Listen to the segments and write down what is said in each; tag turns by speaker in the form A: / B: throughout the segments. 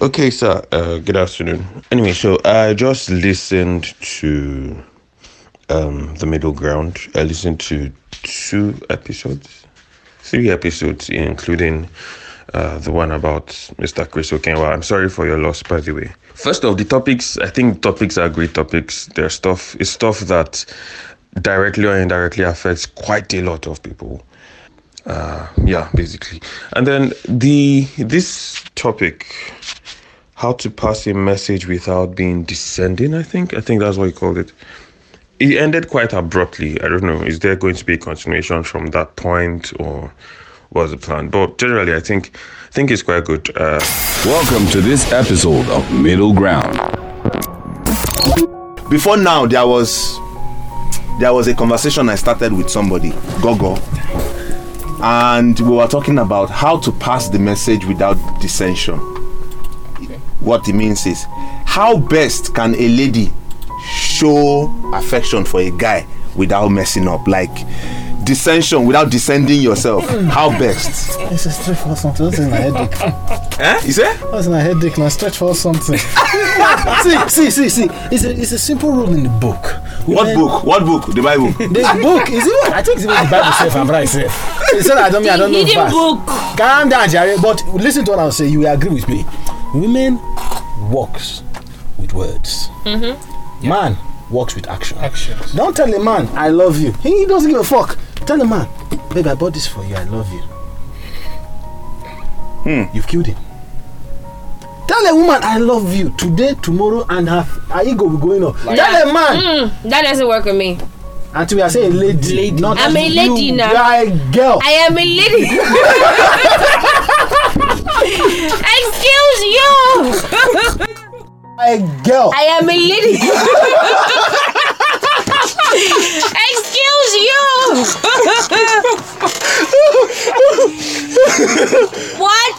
A: Okay, sir. Uh, good afternoon. Anyway, so I just listened to um the middle ground. I listened to two episodes, three episodes, including uh the one about Mr. Chris Okenwa. I'm sorry for your loss, by the way. First of the topics, I think topics are great topics. They're stuff. It's stuff that directly or indirectly affects quite a lot of people. Uh, yeah, basically. And then the this topic how to pass a message without being descending i think i think that's what he called it it ended quite abruptly i don't know is there going to be a continuation from that point or was the plan but generally i think i think it's quite good uh,
B: Welcome to this episode of Middle Ground.
C: before now there was there was a conversation i started with somebody gogo and we were talking about how to pass the message without dissension what it means is how best can a lady show affection for a guy without messing up like dissension without descending yourself how best
D: It's a stretch for something. What's in my headache?
C: eh you say
D: What's in my headache now? Stretch for something. see, see, see, see. It's a, it's a simple rule in the book.
C: what
D: Women-
C: book what book the bible
D: The book is even. I think it's even the Bible safe. I'm right safe. He said I don't mean I don't know
E: Hidden
D: verse.
E: book.
D: Calm down, Jerry. But listen to what I'll say. You will agree with me. Women works with words. Mm-hmm. Man works with action.
F: Actions.
D: Don't tell a man I love you. He doesn't give a fuck. Tell a man, babe, I bought this for you. I love you. You've killed him. Tell a woman I love you today, tomorrow, and her, her ego will going up. tell a man
E: Mm, that doesn't work with me.
D: until we are saying lady, lady. not
E: I'm a lady
D: you,
E: now.
D: you are a girl.
E: I am a lady. Excuse you.
D: I, a girl.
E: I am a lady. Excuse you. what?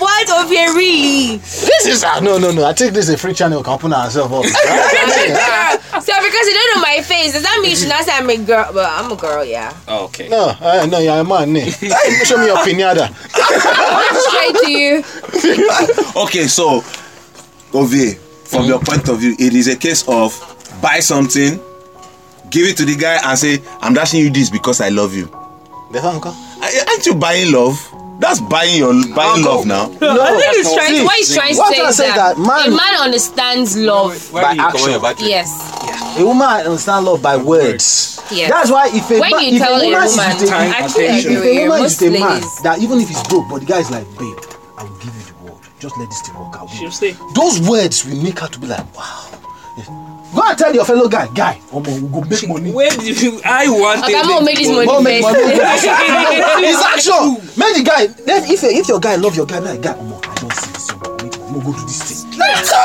E: what of you really?
D: this is uh, no, no, no. I think this is a free channel. We can open ourselves up.
E: so because you don't know my face, does that mean you should not say I'm a girl? Well, I'm a girl, yeah.
F: Oh, okay.
D: no, uh, no, you're a man. eh? Show me your pinata.
E: Straight to you.
F: Okay, so
G: Ovie,
E: Hmm?
G: from your point of view, it is a case of buy something, give it to the guy, and say, I'm dashing you this because I love you.
D: Better uncle.
G: A- Aren't you buying love? That's buying your buying love now.
E: No, I think he's trying.
D: See,
E: what he's trying
D: what
E: to say
D: I
E: is
D: said
E: that,
D: that man-
E: a man understands love.
F: where
D: By
F: do you come
D: action.
F: on your battery?
E: Yes,
D: A woman understands love by words.
E: Yes.
D: That's why if a
E: When
D: ma-
E: you
D: if
E: tell a
D: woman is
E: woman,
D: with a-
F: time,
E: actually, I
D: if a
E: agree
F: attention.
E: with you.
D: woman is
E: Most
D: the man
E: ladies.
D: that even if he's broke, but the guy is like, babe, I will give you the world. Just let this thing work out.
F: She'll stay.
D: Those words will make her to be like, wow. Yes. Go and tell your fellow guy, guy, omo, we go make money.
F: Where do you, I want
E: Okay, I'm
F: it.
E: gonna make this money
D: Go make
E: first.
D: money. it's action. Make the guy. Then if if your guy love your guy, make the guy. Omo, I don't see this. Omo, wait, omo, go do this thing. Let's go.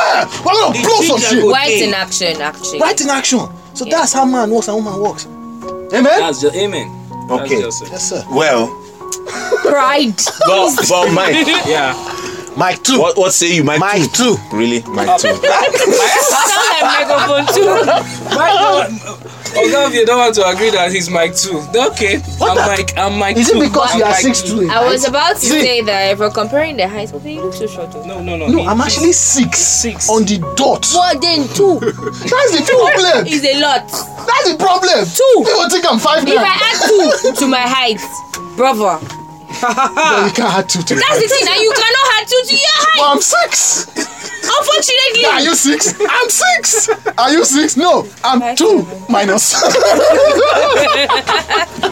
D: We're gonna
F: The
D: blow some
F: ginger
D: shit.
F: go-
E: Right in action, actually.
D: Right in action. So
E: Yeah.
D: that's how man works and woman works. Amen.
F: That's just amen.
G: Okay.
F: That's just it.
D: Yes, sir.
G: Well,
E: Pride.
G: but, but Mike,
F: Yeah.
D: Mike too.
G: what, what say you, Mike?
D: Mike too.
G: Really, Mike too.
E: Sound like microphone too.
F: Although if you don't want to agree that he's Mike too. Okay. I'm
D: the-
F: Mike. I'm Mike
D: Is it
F: too.
D: because
F: I'm
D: you are
F: Mike
D: six
F: too.
D: two?
E: I was about to
D: See.
E: say that if we're comparing the heights, okay, you look so short. though.
F: No, no, no.
D: No,
F: He-
D: I'm actually six.
F: Six.
D: On the dot.
E: But then two
D: That's the problem.
E: is a lot.
D: That's the problem.
E: Two.
D: People think I'm five
E: If
D: now.
E: I add two to my height, brother,
D: But you can't add two to
E: that's the thing. Now you cannot add two to your height.
D: But I'm six.
E: Unfortunately.
D: Are you six? I'm six. Are you six? No, I'm two minus.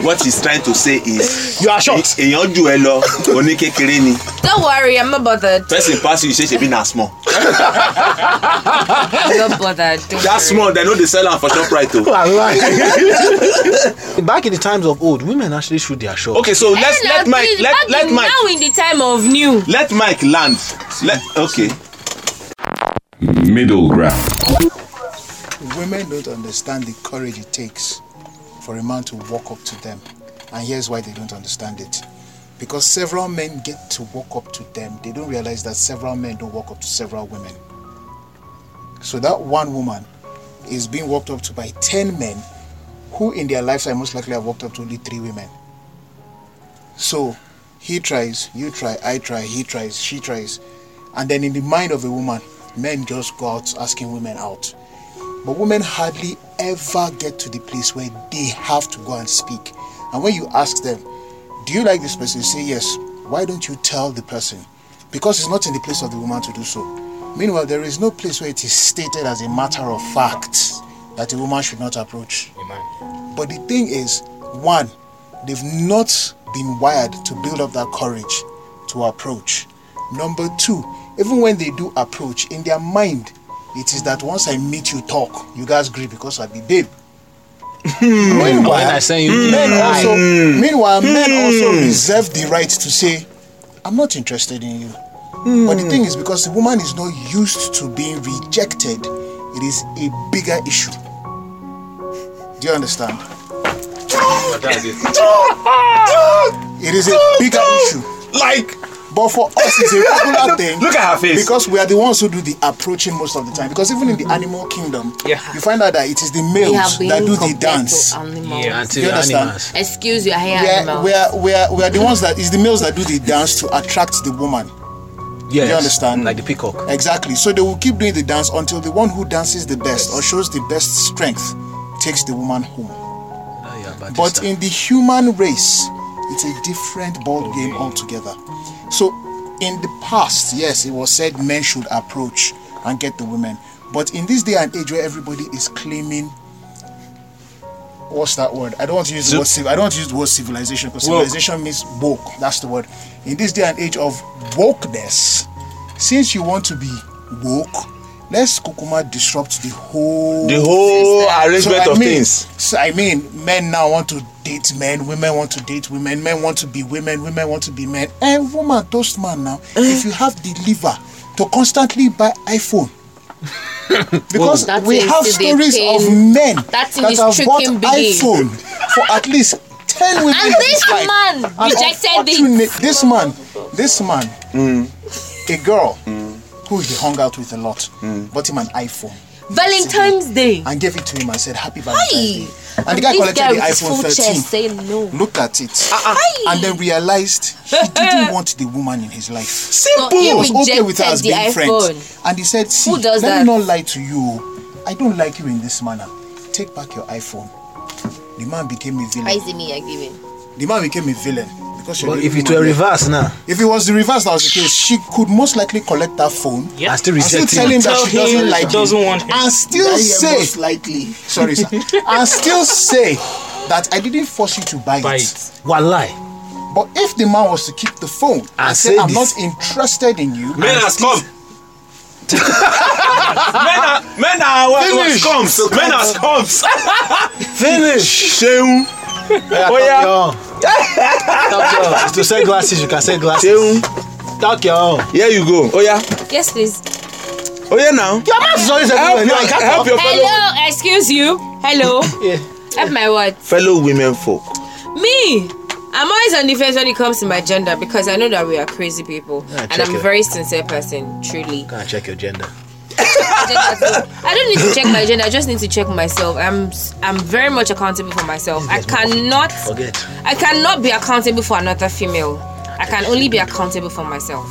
G: What he's trying to say is, e,
D: you are short.
G: èèyàn jù ẹ lọ, oníkékeré ni.
E: Don't worry, I'm not bothered.
G: Person pass you, you say shebi na small.
E: I'm not bothered. Don't
G: That
E: worry.
G: small, they know they sell am for oh. shop right o.
D: Back in the times of old, women actually shoot their shot.
G: Okay, so let's
E: And
G: let
E: now,
G: Mike
E: please,
G: let
E: back
G: let
E: in-
G: Mike
E: Now in the time of new.
G: let Mike land. Let okay.
B: Middle Ground.
H: Women don't understand the courage it takes for a man to walk up to them. And here's why they don't understand it. Because several men get to walk up to them, they don't realize that several men don't walk up to several women. So that one woman is being walked up to by 10 men who, in their lifetime, most likely have walked up to only three women. So he tries, you try, I try, he tries, she tries.
D: And then in the mind of a woman, men just go out asking women out. But women hardly ever get to the place where they have to go and speak. And when you ask them, do you like this person? They say yes. Why don't you tell the person? Because it's not in the place of the woman to do so. Meanwhile, there is no place where it is stated as a matter of fact that a woman should not approach. But the thing is, one, they've not been wired to build up that courage to approach. Number two, even when they do approach, in their mind, it is that once I meet you, talk. You guys agree because I be babe.
I: Hmm. When I
D: meanwhile,
I: send you, Hmm.
D: men also, meanwhile, men also reserve the right to say, "I'm not interested in you."
I: Hmm.
D: But the thing is, because the woman is not used to being rejected, it is a bigger issue. Do you understand? It is
G: Oh,
D: a bigger issue.
G: Like,
D: But for us, it's a regular thing.
G: look at her face.
D: Because we are the ones who do the approaching most of the time. Because even in the animal kingdom,
F: Yeah.
D: you find out that it is the
J: We have
D: males
J: been
D: that do the
J: compared
D: dance.
J: to animals.
I: until
D: You understand?
I: animals.
J: Excuse your hair
D: We are,
J: animals.
D: we, are, we, are, we are the ones that it's the males that do the dance to attract the woman.
I: Yes.
D: understand?
I: Like the peacock.
D: Exactly. So they will keep doing the dance until the one who dances the best or shows the best strength takes the woman home. But in the human race, it's a different ball game altogether. So in the past, yes, it was said men should approach and get the women. But in this day and age where everybody is claiming what's that word? I don't want to use the word civ- I don't want to use the word civilization because
F: Woke.
D: civilization means woke. That's the word. In this day and age of wokeness, since you want to be woke, let's kukuma disrupt the whole
G: the whole
D: so
G: arrangement
D: I
G: of
D: mean,
G: things.
D: So I mean, men now want to date men, women want to date women, men want to be women, women want to be men. And woman toast man now.
J: Eh.
D: If you have the liver to constantly buy iPhone. because
J: That
D: we
J: is
D: have
J: the
D: stories of
J: pain.
D: men
J: That thing is
D: have bought
J: tricking belief.
D: iPhone for at least ten women.
J: And
D: in
J: this
D: his life.
J: man
D: And
J: rejected the-
D: unfortunate- This man, this man,
G: Mm.
D: a girl who he hung out with a lot,
G: Mm.
D: bought him an iPhone
J: Valentine's Day.
D: and gave it to him and said, Happy Valentine's Day. And, the
J: And
D: guy
J: this
D: collected
J: guy
D: the
J: with his
D: iPhone
J: full
D: 13,
J: chest saying no.
D: looked at it,
J: Hi.
D: and then realized he didn't want the woman in his life.
J: So he
D: He was okay with her
J: rejected
D: as
J: the
D: being
J: iPhone.
D: friends. And he said, See,
J: Who does
D: let
J: that?
D: me not lie to you. I don't like you in this manner. Take back your iPhone. The man became a
J: Why
D: villain.
J: is it me you're giving?
D: The man became a villain. Because she
I: But
D: gave
I: if
D: him
I: it were
D: money.
I: reverse now,
D: If it was the reverse that was the case, she could most likely collect that phone.
I: I still
D: And still
I: reject
D: tell
I: him.
D: him that
F: Tell
D: she doesn't
F: him
D: like
F: she doesn't want him.
D: and still say
C: most likely.
D: sorry sir and still say that i didn't force you to buy,
F: Buy
D: it.
F: it.
I: One lie.
D: but if the man was to keep the phone and,
I: And
D: say,
I: say
D: i'm
I: this.
D: not interested in you
G: Men are scum. men are men are what, what
D: Finish.
G: scums. Men are scums.
I: Finish.
G: Shame.
I: Oh yeah. Talk your own. It's to sell glasses, you can sell glasses.
G: Shame.
I: Talk your own.
G: Here you go. Oh yeah.
E: Yes, please.
G: Oh yeah now.
I: Your mouth is always
G: Help,
I: everywhere.
G: your,
I: You can't
G: help
I: talk.
G: your fellow
E: Hello, excuse you. Hello.
I: Yeah.
E: Have my what?
G: fellow women folk.
E: Me. I'm always on the fence when it comes to my gender because I know that we are crazy people, and
I: check
E: I'm a
I: it.
E: very sincere person, truly.
I: Go and check your gender.
E: Gender- I don't need to check my gender. I just need to check myself. I'm s- I'm very much accountable for myself. I cannot
I: Forget.
E: I cannot be accountable for another female. I can only be accountable for myself,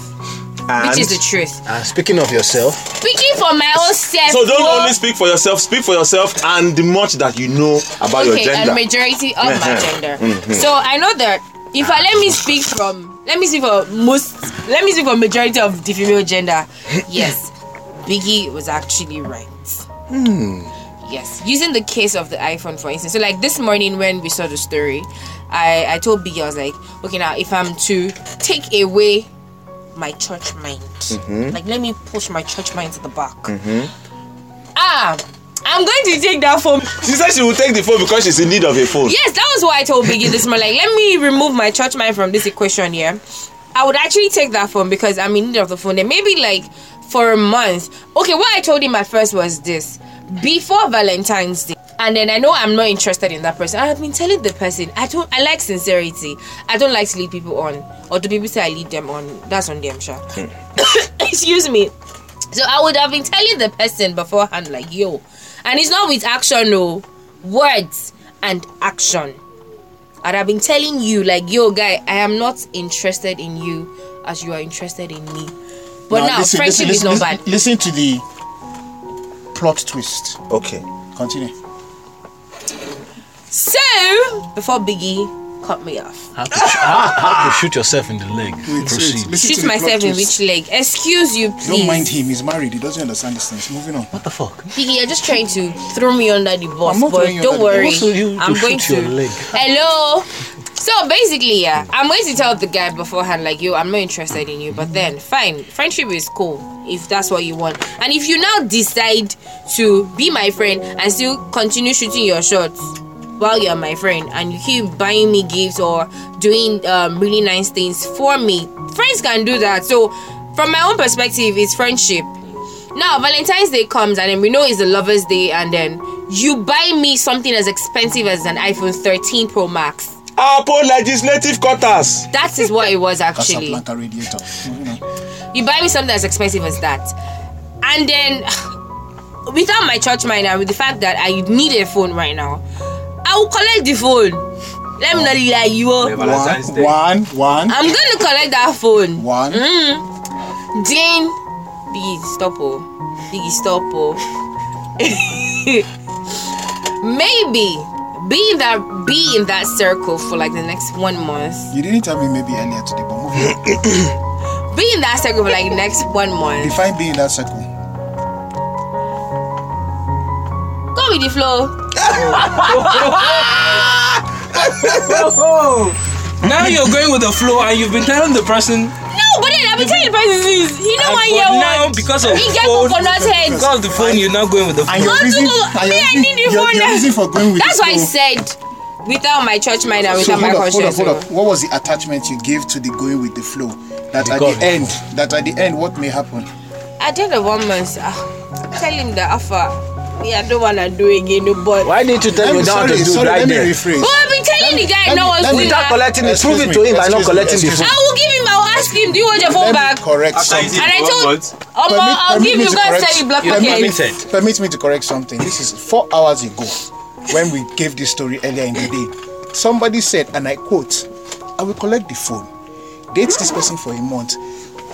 E: which is the truth.
I: And Uh, speaking of yourself,
E: Speaking for my own self.
G: So don't
E: oh,
G: only speak for yourself. Speak for yourself and the much that you know about your
E: okay,
G: gender.
E: and majority of my
G: Mhm.
E: gender. So I know that if I let me speak from let me speak for most let me speak for majority of the female gender. Yes, Biggie was actually right.
G: Hmm.
E: Yes, using the case of the iPhone for instance. So like this morning when we saw the story, I I told Biggie I was like, okay now if I'm to take away my church mind,
G: Mm-hmm.
E: like let me push my church mind to the back. Ah, I'm going to take that phone
G: she said she will take the phone because she's in need of a phone.
E: Yes, that was what I told Biggie this morning. Like, let me remove my church mind from this equation here. I would actually take that phone because I'm in need of the phone. Then maybe like for a month. Okay, what I told him at first was this: before Valentine's Day. And then I know I'm not interested in that person. I have been telling the person I don't. I like sincerity. I don't like to lead people on, or do people say I lead them on? That's on them, sure. Excuse me. So I would have been telling the person beforehand, like, yo, and it's not with action, no, words and action. I'd have been telling you, like, yo, guy, I am not interested in you as you are interested in me. But now, friendship is not bad.
D: Listen to the plot twist.
G: Okay.
D: Continue.
E: So before Biggie cut me off,
I: How to, how, how to shoot yourself in the leg. Proceed.
D: Listen to
E: shoot
D: the plot
E: myself in
D: twist.
E: which leg? Excuse you, please.
D: Don't mind him. He's married. He doesn't understand these things. Moving on.
I: What the fuck?
E: Biggie, you're just trying to throw me under the bus,
D: I'm not
E: but
D: throwing you
E: don't
D: under the
E: worry,
I: bus. Also, you
E: I'm
I: to
E: going
I: shoot
E: to.
I: your leg.
E: Hello. So basically, yeah, I'm going to tell the guy beforehand, like, yo, I'm not interested in you. But then, fine, friendship is cool if that's what you want. And if you now decide to be my friend and still continue shooting your shots while you're my friend and you keep buying me gifts or doing um, really nice things for me, friends can do that. So, from my own perspective, it's friendship now valentine's day comes and then we know it's the lovers day and then you buy me something as expensive as an iphone 13 pro max
G: Upon legislative quarters.
E: that is what it was actually
D: Casablanca radiator. Moving on.
E: you buy me something as expensive as that and then without my church mind and with the fact that i need a phone right now i will collect the phone let me not lie you oh.
F: Valentine's Day.
D: One, one,
E: i'm gonna collect that phone
D: one.
E: Jane, Biggie, stop oh. Biggie, stop oh. Maybe being that be in that circle for like the next one month.
D: You didn't tell me maybe earlier today, but moving on.
E: Be in that circle for like the next one month.
D: Define being in that circle.
E: Go with the flow.
F: Oh, now you're going with the flow, and you've been telling the person
E: No, but then I've been telling the person since you know
F: And
E: one
F: for
E: year
F: now,
E: one.
F: because of
E: he get
F: phone-
E: coconut head.
F: because of the phone, you're not going with the
D: And
F: flow.
D: your
E: Not
D: reason,
E: to go-
D: and
E: me,
D: your
E: I
D: reason,
E: need the
D: your,
E: phone
D: your
E: now.
D: reason for going with
E: That's
D: the
E: why I
D: flow.
E: said without my church mind and
D: So
E: without
D: hold
E: my
D: up, hold up,
E: conscience.
D: hold
E: oh.
D: up. What was the attachment you gave to the going with the flow? That at
I: God.
D: the end, that at the end, what may happen?
E: At the end of one month, ah, tell him the offer. Me, I don't wanna do again, no, but
I: Why didn't you tell me
D: Let me-
I: down to
D: sorry,
I: do
D: sorry,
I: right
D: let me
I: there?
D: rephrase.
E: But I've been telling the guy
D: let
E: no
D: me-
E: one's
D: let me-
E: doing
I: Without
E: that.
I: collecting it, prove it
D: Excuse
I: to
D: me,
I: him by not
D: excuse me,
I: collecting the
D: excuse
E: I
I: phone.
E: will give him. I will ask him. Do you want your phone
D: Let
E: back?
D: me correct
F: After you
D: something.
F: did
E: And I
F: one
E: told-
F: month,
E: Oh,
D: Permit-
E: I'll
D: permit
E: give
D: me
E: you
D: to
E: guys
D: correct-
E: tell you black
D: permit me-
E: pocket.
I: Permitted.
D: Permit me to correct something. This is four hours ago when we gave this story earlier in the day. Somebody said, and I quote, I will collect the phone, date this person for a month,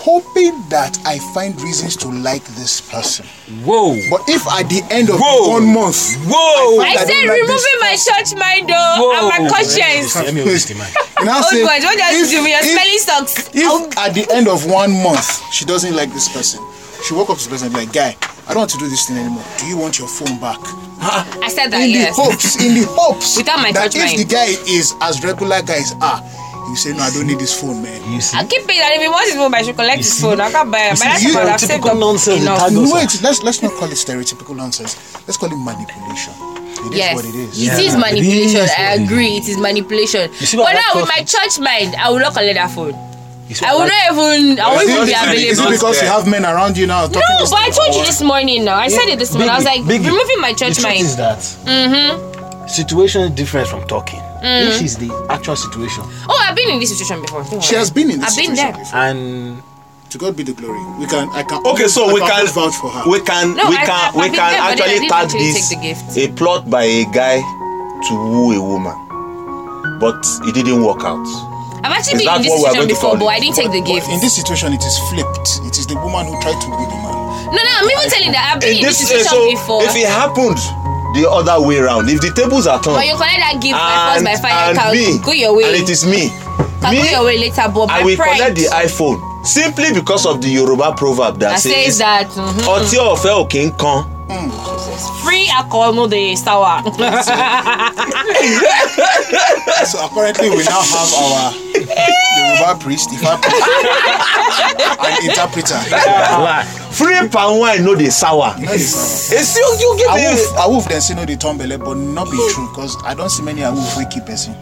D: hoping that I find reasons to like this person.
F: Whoa.
D: But if at the end of
F: Whoa.
D: one month,
F: Whoa.
E: I
D: I
E: said
D: don't like
E: removing my church mind though and my
F: Whoa.
E: conscience.
I: Let me waste the mind.
D: you now
E: Oh
D: say,
E: God, what are you
D: if-
E: doing? You're
D: if-
E: smelling socks. I'll-
D: If at the end of one month she doesn't like this person, she walk up to the person and be like, "Guy, I don't want to do this thing anymore. Do you want your phone back?"
E: I said that
D: in
E: yes.
D: the hopes, in the hopes
E: Without my
D: that if
E: judgment.
D: the guy is as regular guys are, you say, "No, I don't need this phone, man."
I: You see?
E: I keep it. And if he wants his phone, I should collect his phone. I can't buy it. But that's
D: you
E: what
D: are
E: I've saved
I: typical
E: up
I: nonsense with
E: enough.
I: tag-
D: No,
I: Gossip.
D: wait, let's let's not call it stereotypical nonsense. Let's call it manipulation. It is
E: Yes,
D: what it is.
E: it is
I: Yeah.
E: manipulation.
I: It is
E: I
I: what it
E: agree, it is manipulation.
I: see
E: But
I: what that
E: now with my
I: costs
E: church mind, I will not collect that phone.
I: You see
E: I
I: what
E: will
I: that-
E: not even. I won't
D: Is
E: even
D: it- is
E: be
D: it-
E: available.
D: is it because you have men around you now? talking
E: No,
D: this
E: but I
D: thing?
E: told you this morning now. I said it this morning. I was like,
I: Biggie, Biggie,
E: removing my Mm-hmm.
I: the
E: church
I: truth
E: mind.
I: is that situation is different from talking.
E: Mm.
I: This is the actual situation,
E: Oh, I've been in this situation before. Don't
D: She
E: worry.
D: has been in this
E: I've been
D: situation
E: there.
D: before.
I: and
D: To God be the glory. We can, I can.
G: Okay, so
D: I
G: we can
D: always vouch for her.
G: we can
E: No,
G: we
E: I-
G: can
E: I- I
G: we
E: did
G: can
E: that, but then I
G: actually
E: didn't
G: tag
E: actually
G: this
E: take the gift.
G: a plot by a guy to woo a woman, but it didn't work out.
E: I've
G: Is
E: actually been
G: that
E: in this
G: what we're
E: situation
G: going to
E: before,
G: call
E: but
G: it?
E: I didn't take the gift.
D: In this situation, it is flipped. It is the woman who tried to woo the man.
E: No, no, I'm even telling that I've
G: In
E: been in this
G: this case, so
E: situation before.
G: if it happened the other way around, if the tables are
E: But
G: turned
E: you collect that gift by force,
G: and,
E: by
G: and
E: fire, can
G: me
E: go your way.
G: and it is me,
E: can go
G: me
E: your way later, but
G: I
E: my
G: will
E: pride
G: collect the iPhone simply because of the Yoruba proverb that,
E: that says that mhm,
G: ọtí ọ̀fẹ́ ò kí ń kan.
E: free alcohol no dey sour.
D: So apparently, we now have our Yoruba priest, Ifa priest, an interpreter.
G: free palm wine no dey sour. esi oju give me.
D: Awoof, Awoof, then say no the tombele, but not be true because I don't see many Awoof we keep person.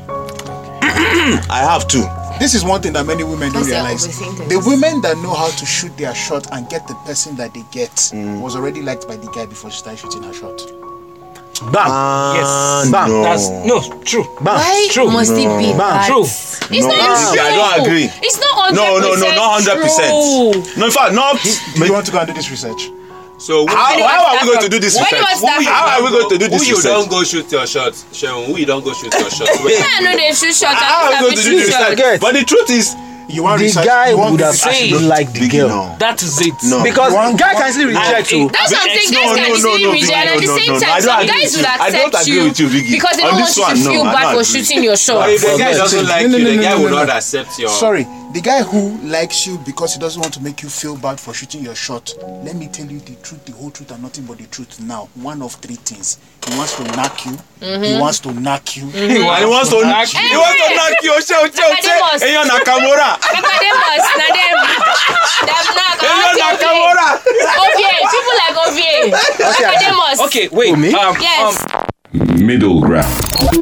G: i have two.
D: This is one thing that many women don't
E: Because they are
D: realize.
E: overthinkers.
D: The women that know how to shoot their shot and get the person that they get
G: Mm.
D: was already liked by the guy before she started shooting her shot.
I: bam, yes, bam,
G: no.
F: That's no true.
I: bam.
E: Why
F: true.
E: must it be bad?
F: True.
E: It's
G: No,
E: not
G: I
E: true.
G: don't agree.
E: It's not 100%
G: no no no not hundred
E: true.
G: percent. no in fact not.
D: Do you want to go and do this research?
K: So who,
G: how
E: do you
G: how
E: want
G: are we going
E: that
G: to do this
E: from? Where do you
G: research.
E: want that
G: how are we going to do this
K: who you
G: research.
K: don't go shoot your shot, Seun? Who you don't go shoot your shot? with?
E: I know they shoot shot.
G: how are we
E: I
G: going to do this
E: shoot shot.
G: research. but the truth is
D: You want
I: the
D: research-
I: guy
D: you want
I: would have
D: research-
F: See.
I: actually liked the
G: Big
I: girl.
G: now.
F: That is it.
G: No.
I: Because
D: One-
I: guy
D: one-
I: can still reject you.
F: it-
E: That's what I'm saying. Guys can
G: no,
E: easily
G: no,
E: reject,
G: Biggie,
E: and at the
G: no,
E: same
G: no, no.
E: time,
G: I don't
E: some
G: agree
E: guys
G: with
E: would
G: you. I don't
E: accept
G: agree
E: you
G: with you, Biggie.
E: because they
G: On
E: don't want
G: this
E: you to
G: one, no, I
E: feel bad
G: don't
E: for
G: agree.
E: shooting your shot.
D: But if
K: the guy doesn't like
D: No,
K: you,
D: no,
K: the
D: no,
K: guy
D: no,
K: will
D: no,
K: not
D: no.
K: accept your.
D: Sorry, the guy who likes you because he doesn't want to make you feel bad for shooting your shot. Let me tell you the truth, the whole truth, and nothing but the truth. Now, one of three things: he wants to knock you, he wants to knock you,
G: Mm-hmm. He wants to knock you. He wants to knock you. Oche, oche,
E: Academos.
G: oche. Eyan Nakamura.
E: Papa Demos, na them. Them knock. I
G: Eyan
E: want to
G: Nakamura.
E: OVA. OVA. People like OVA. Papa Demos.
F: Okay, wait. Um,
E: uh, Yes.
F: um,
B: Middle ground.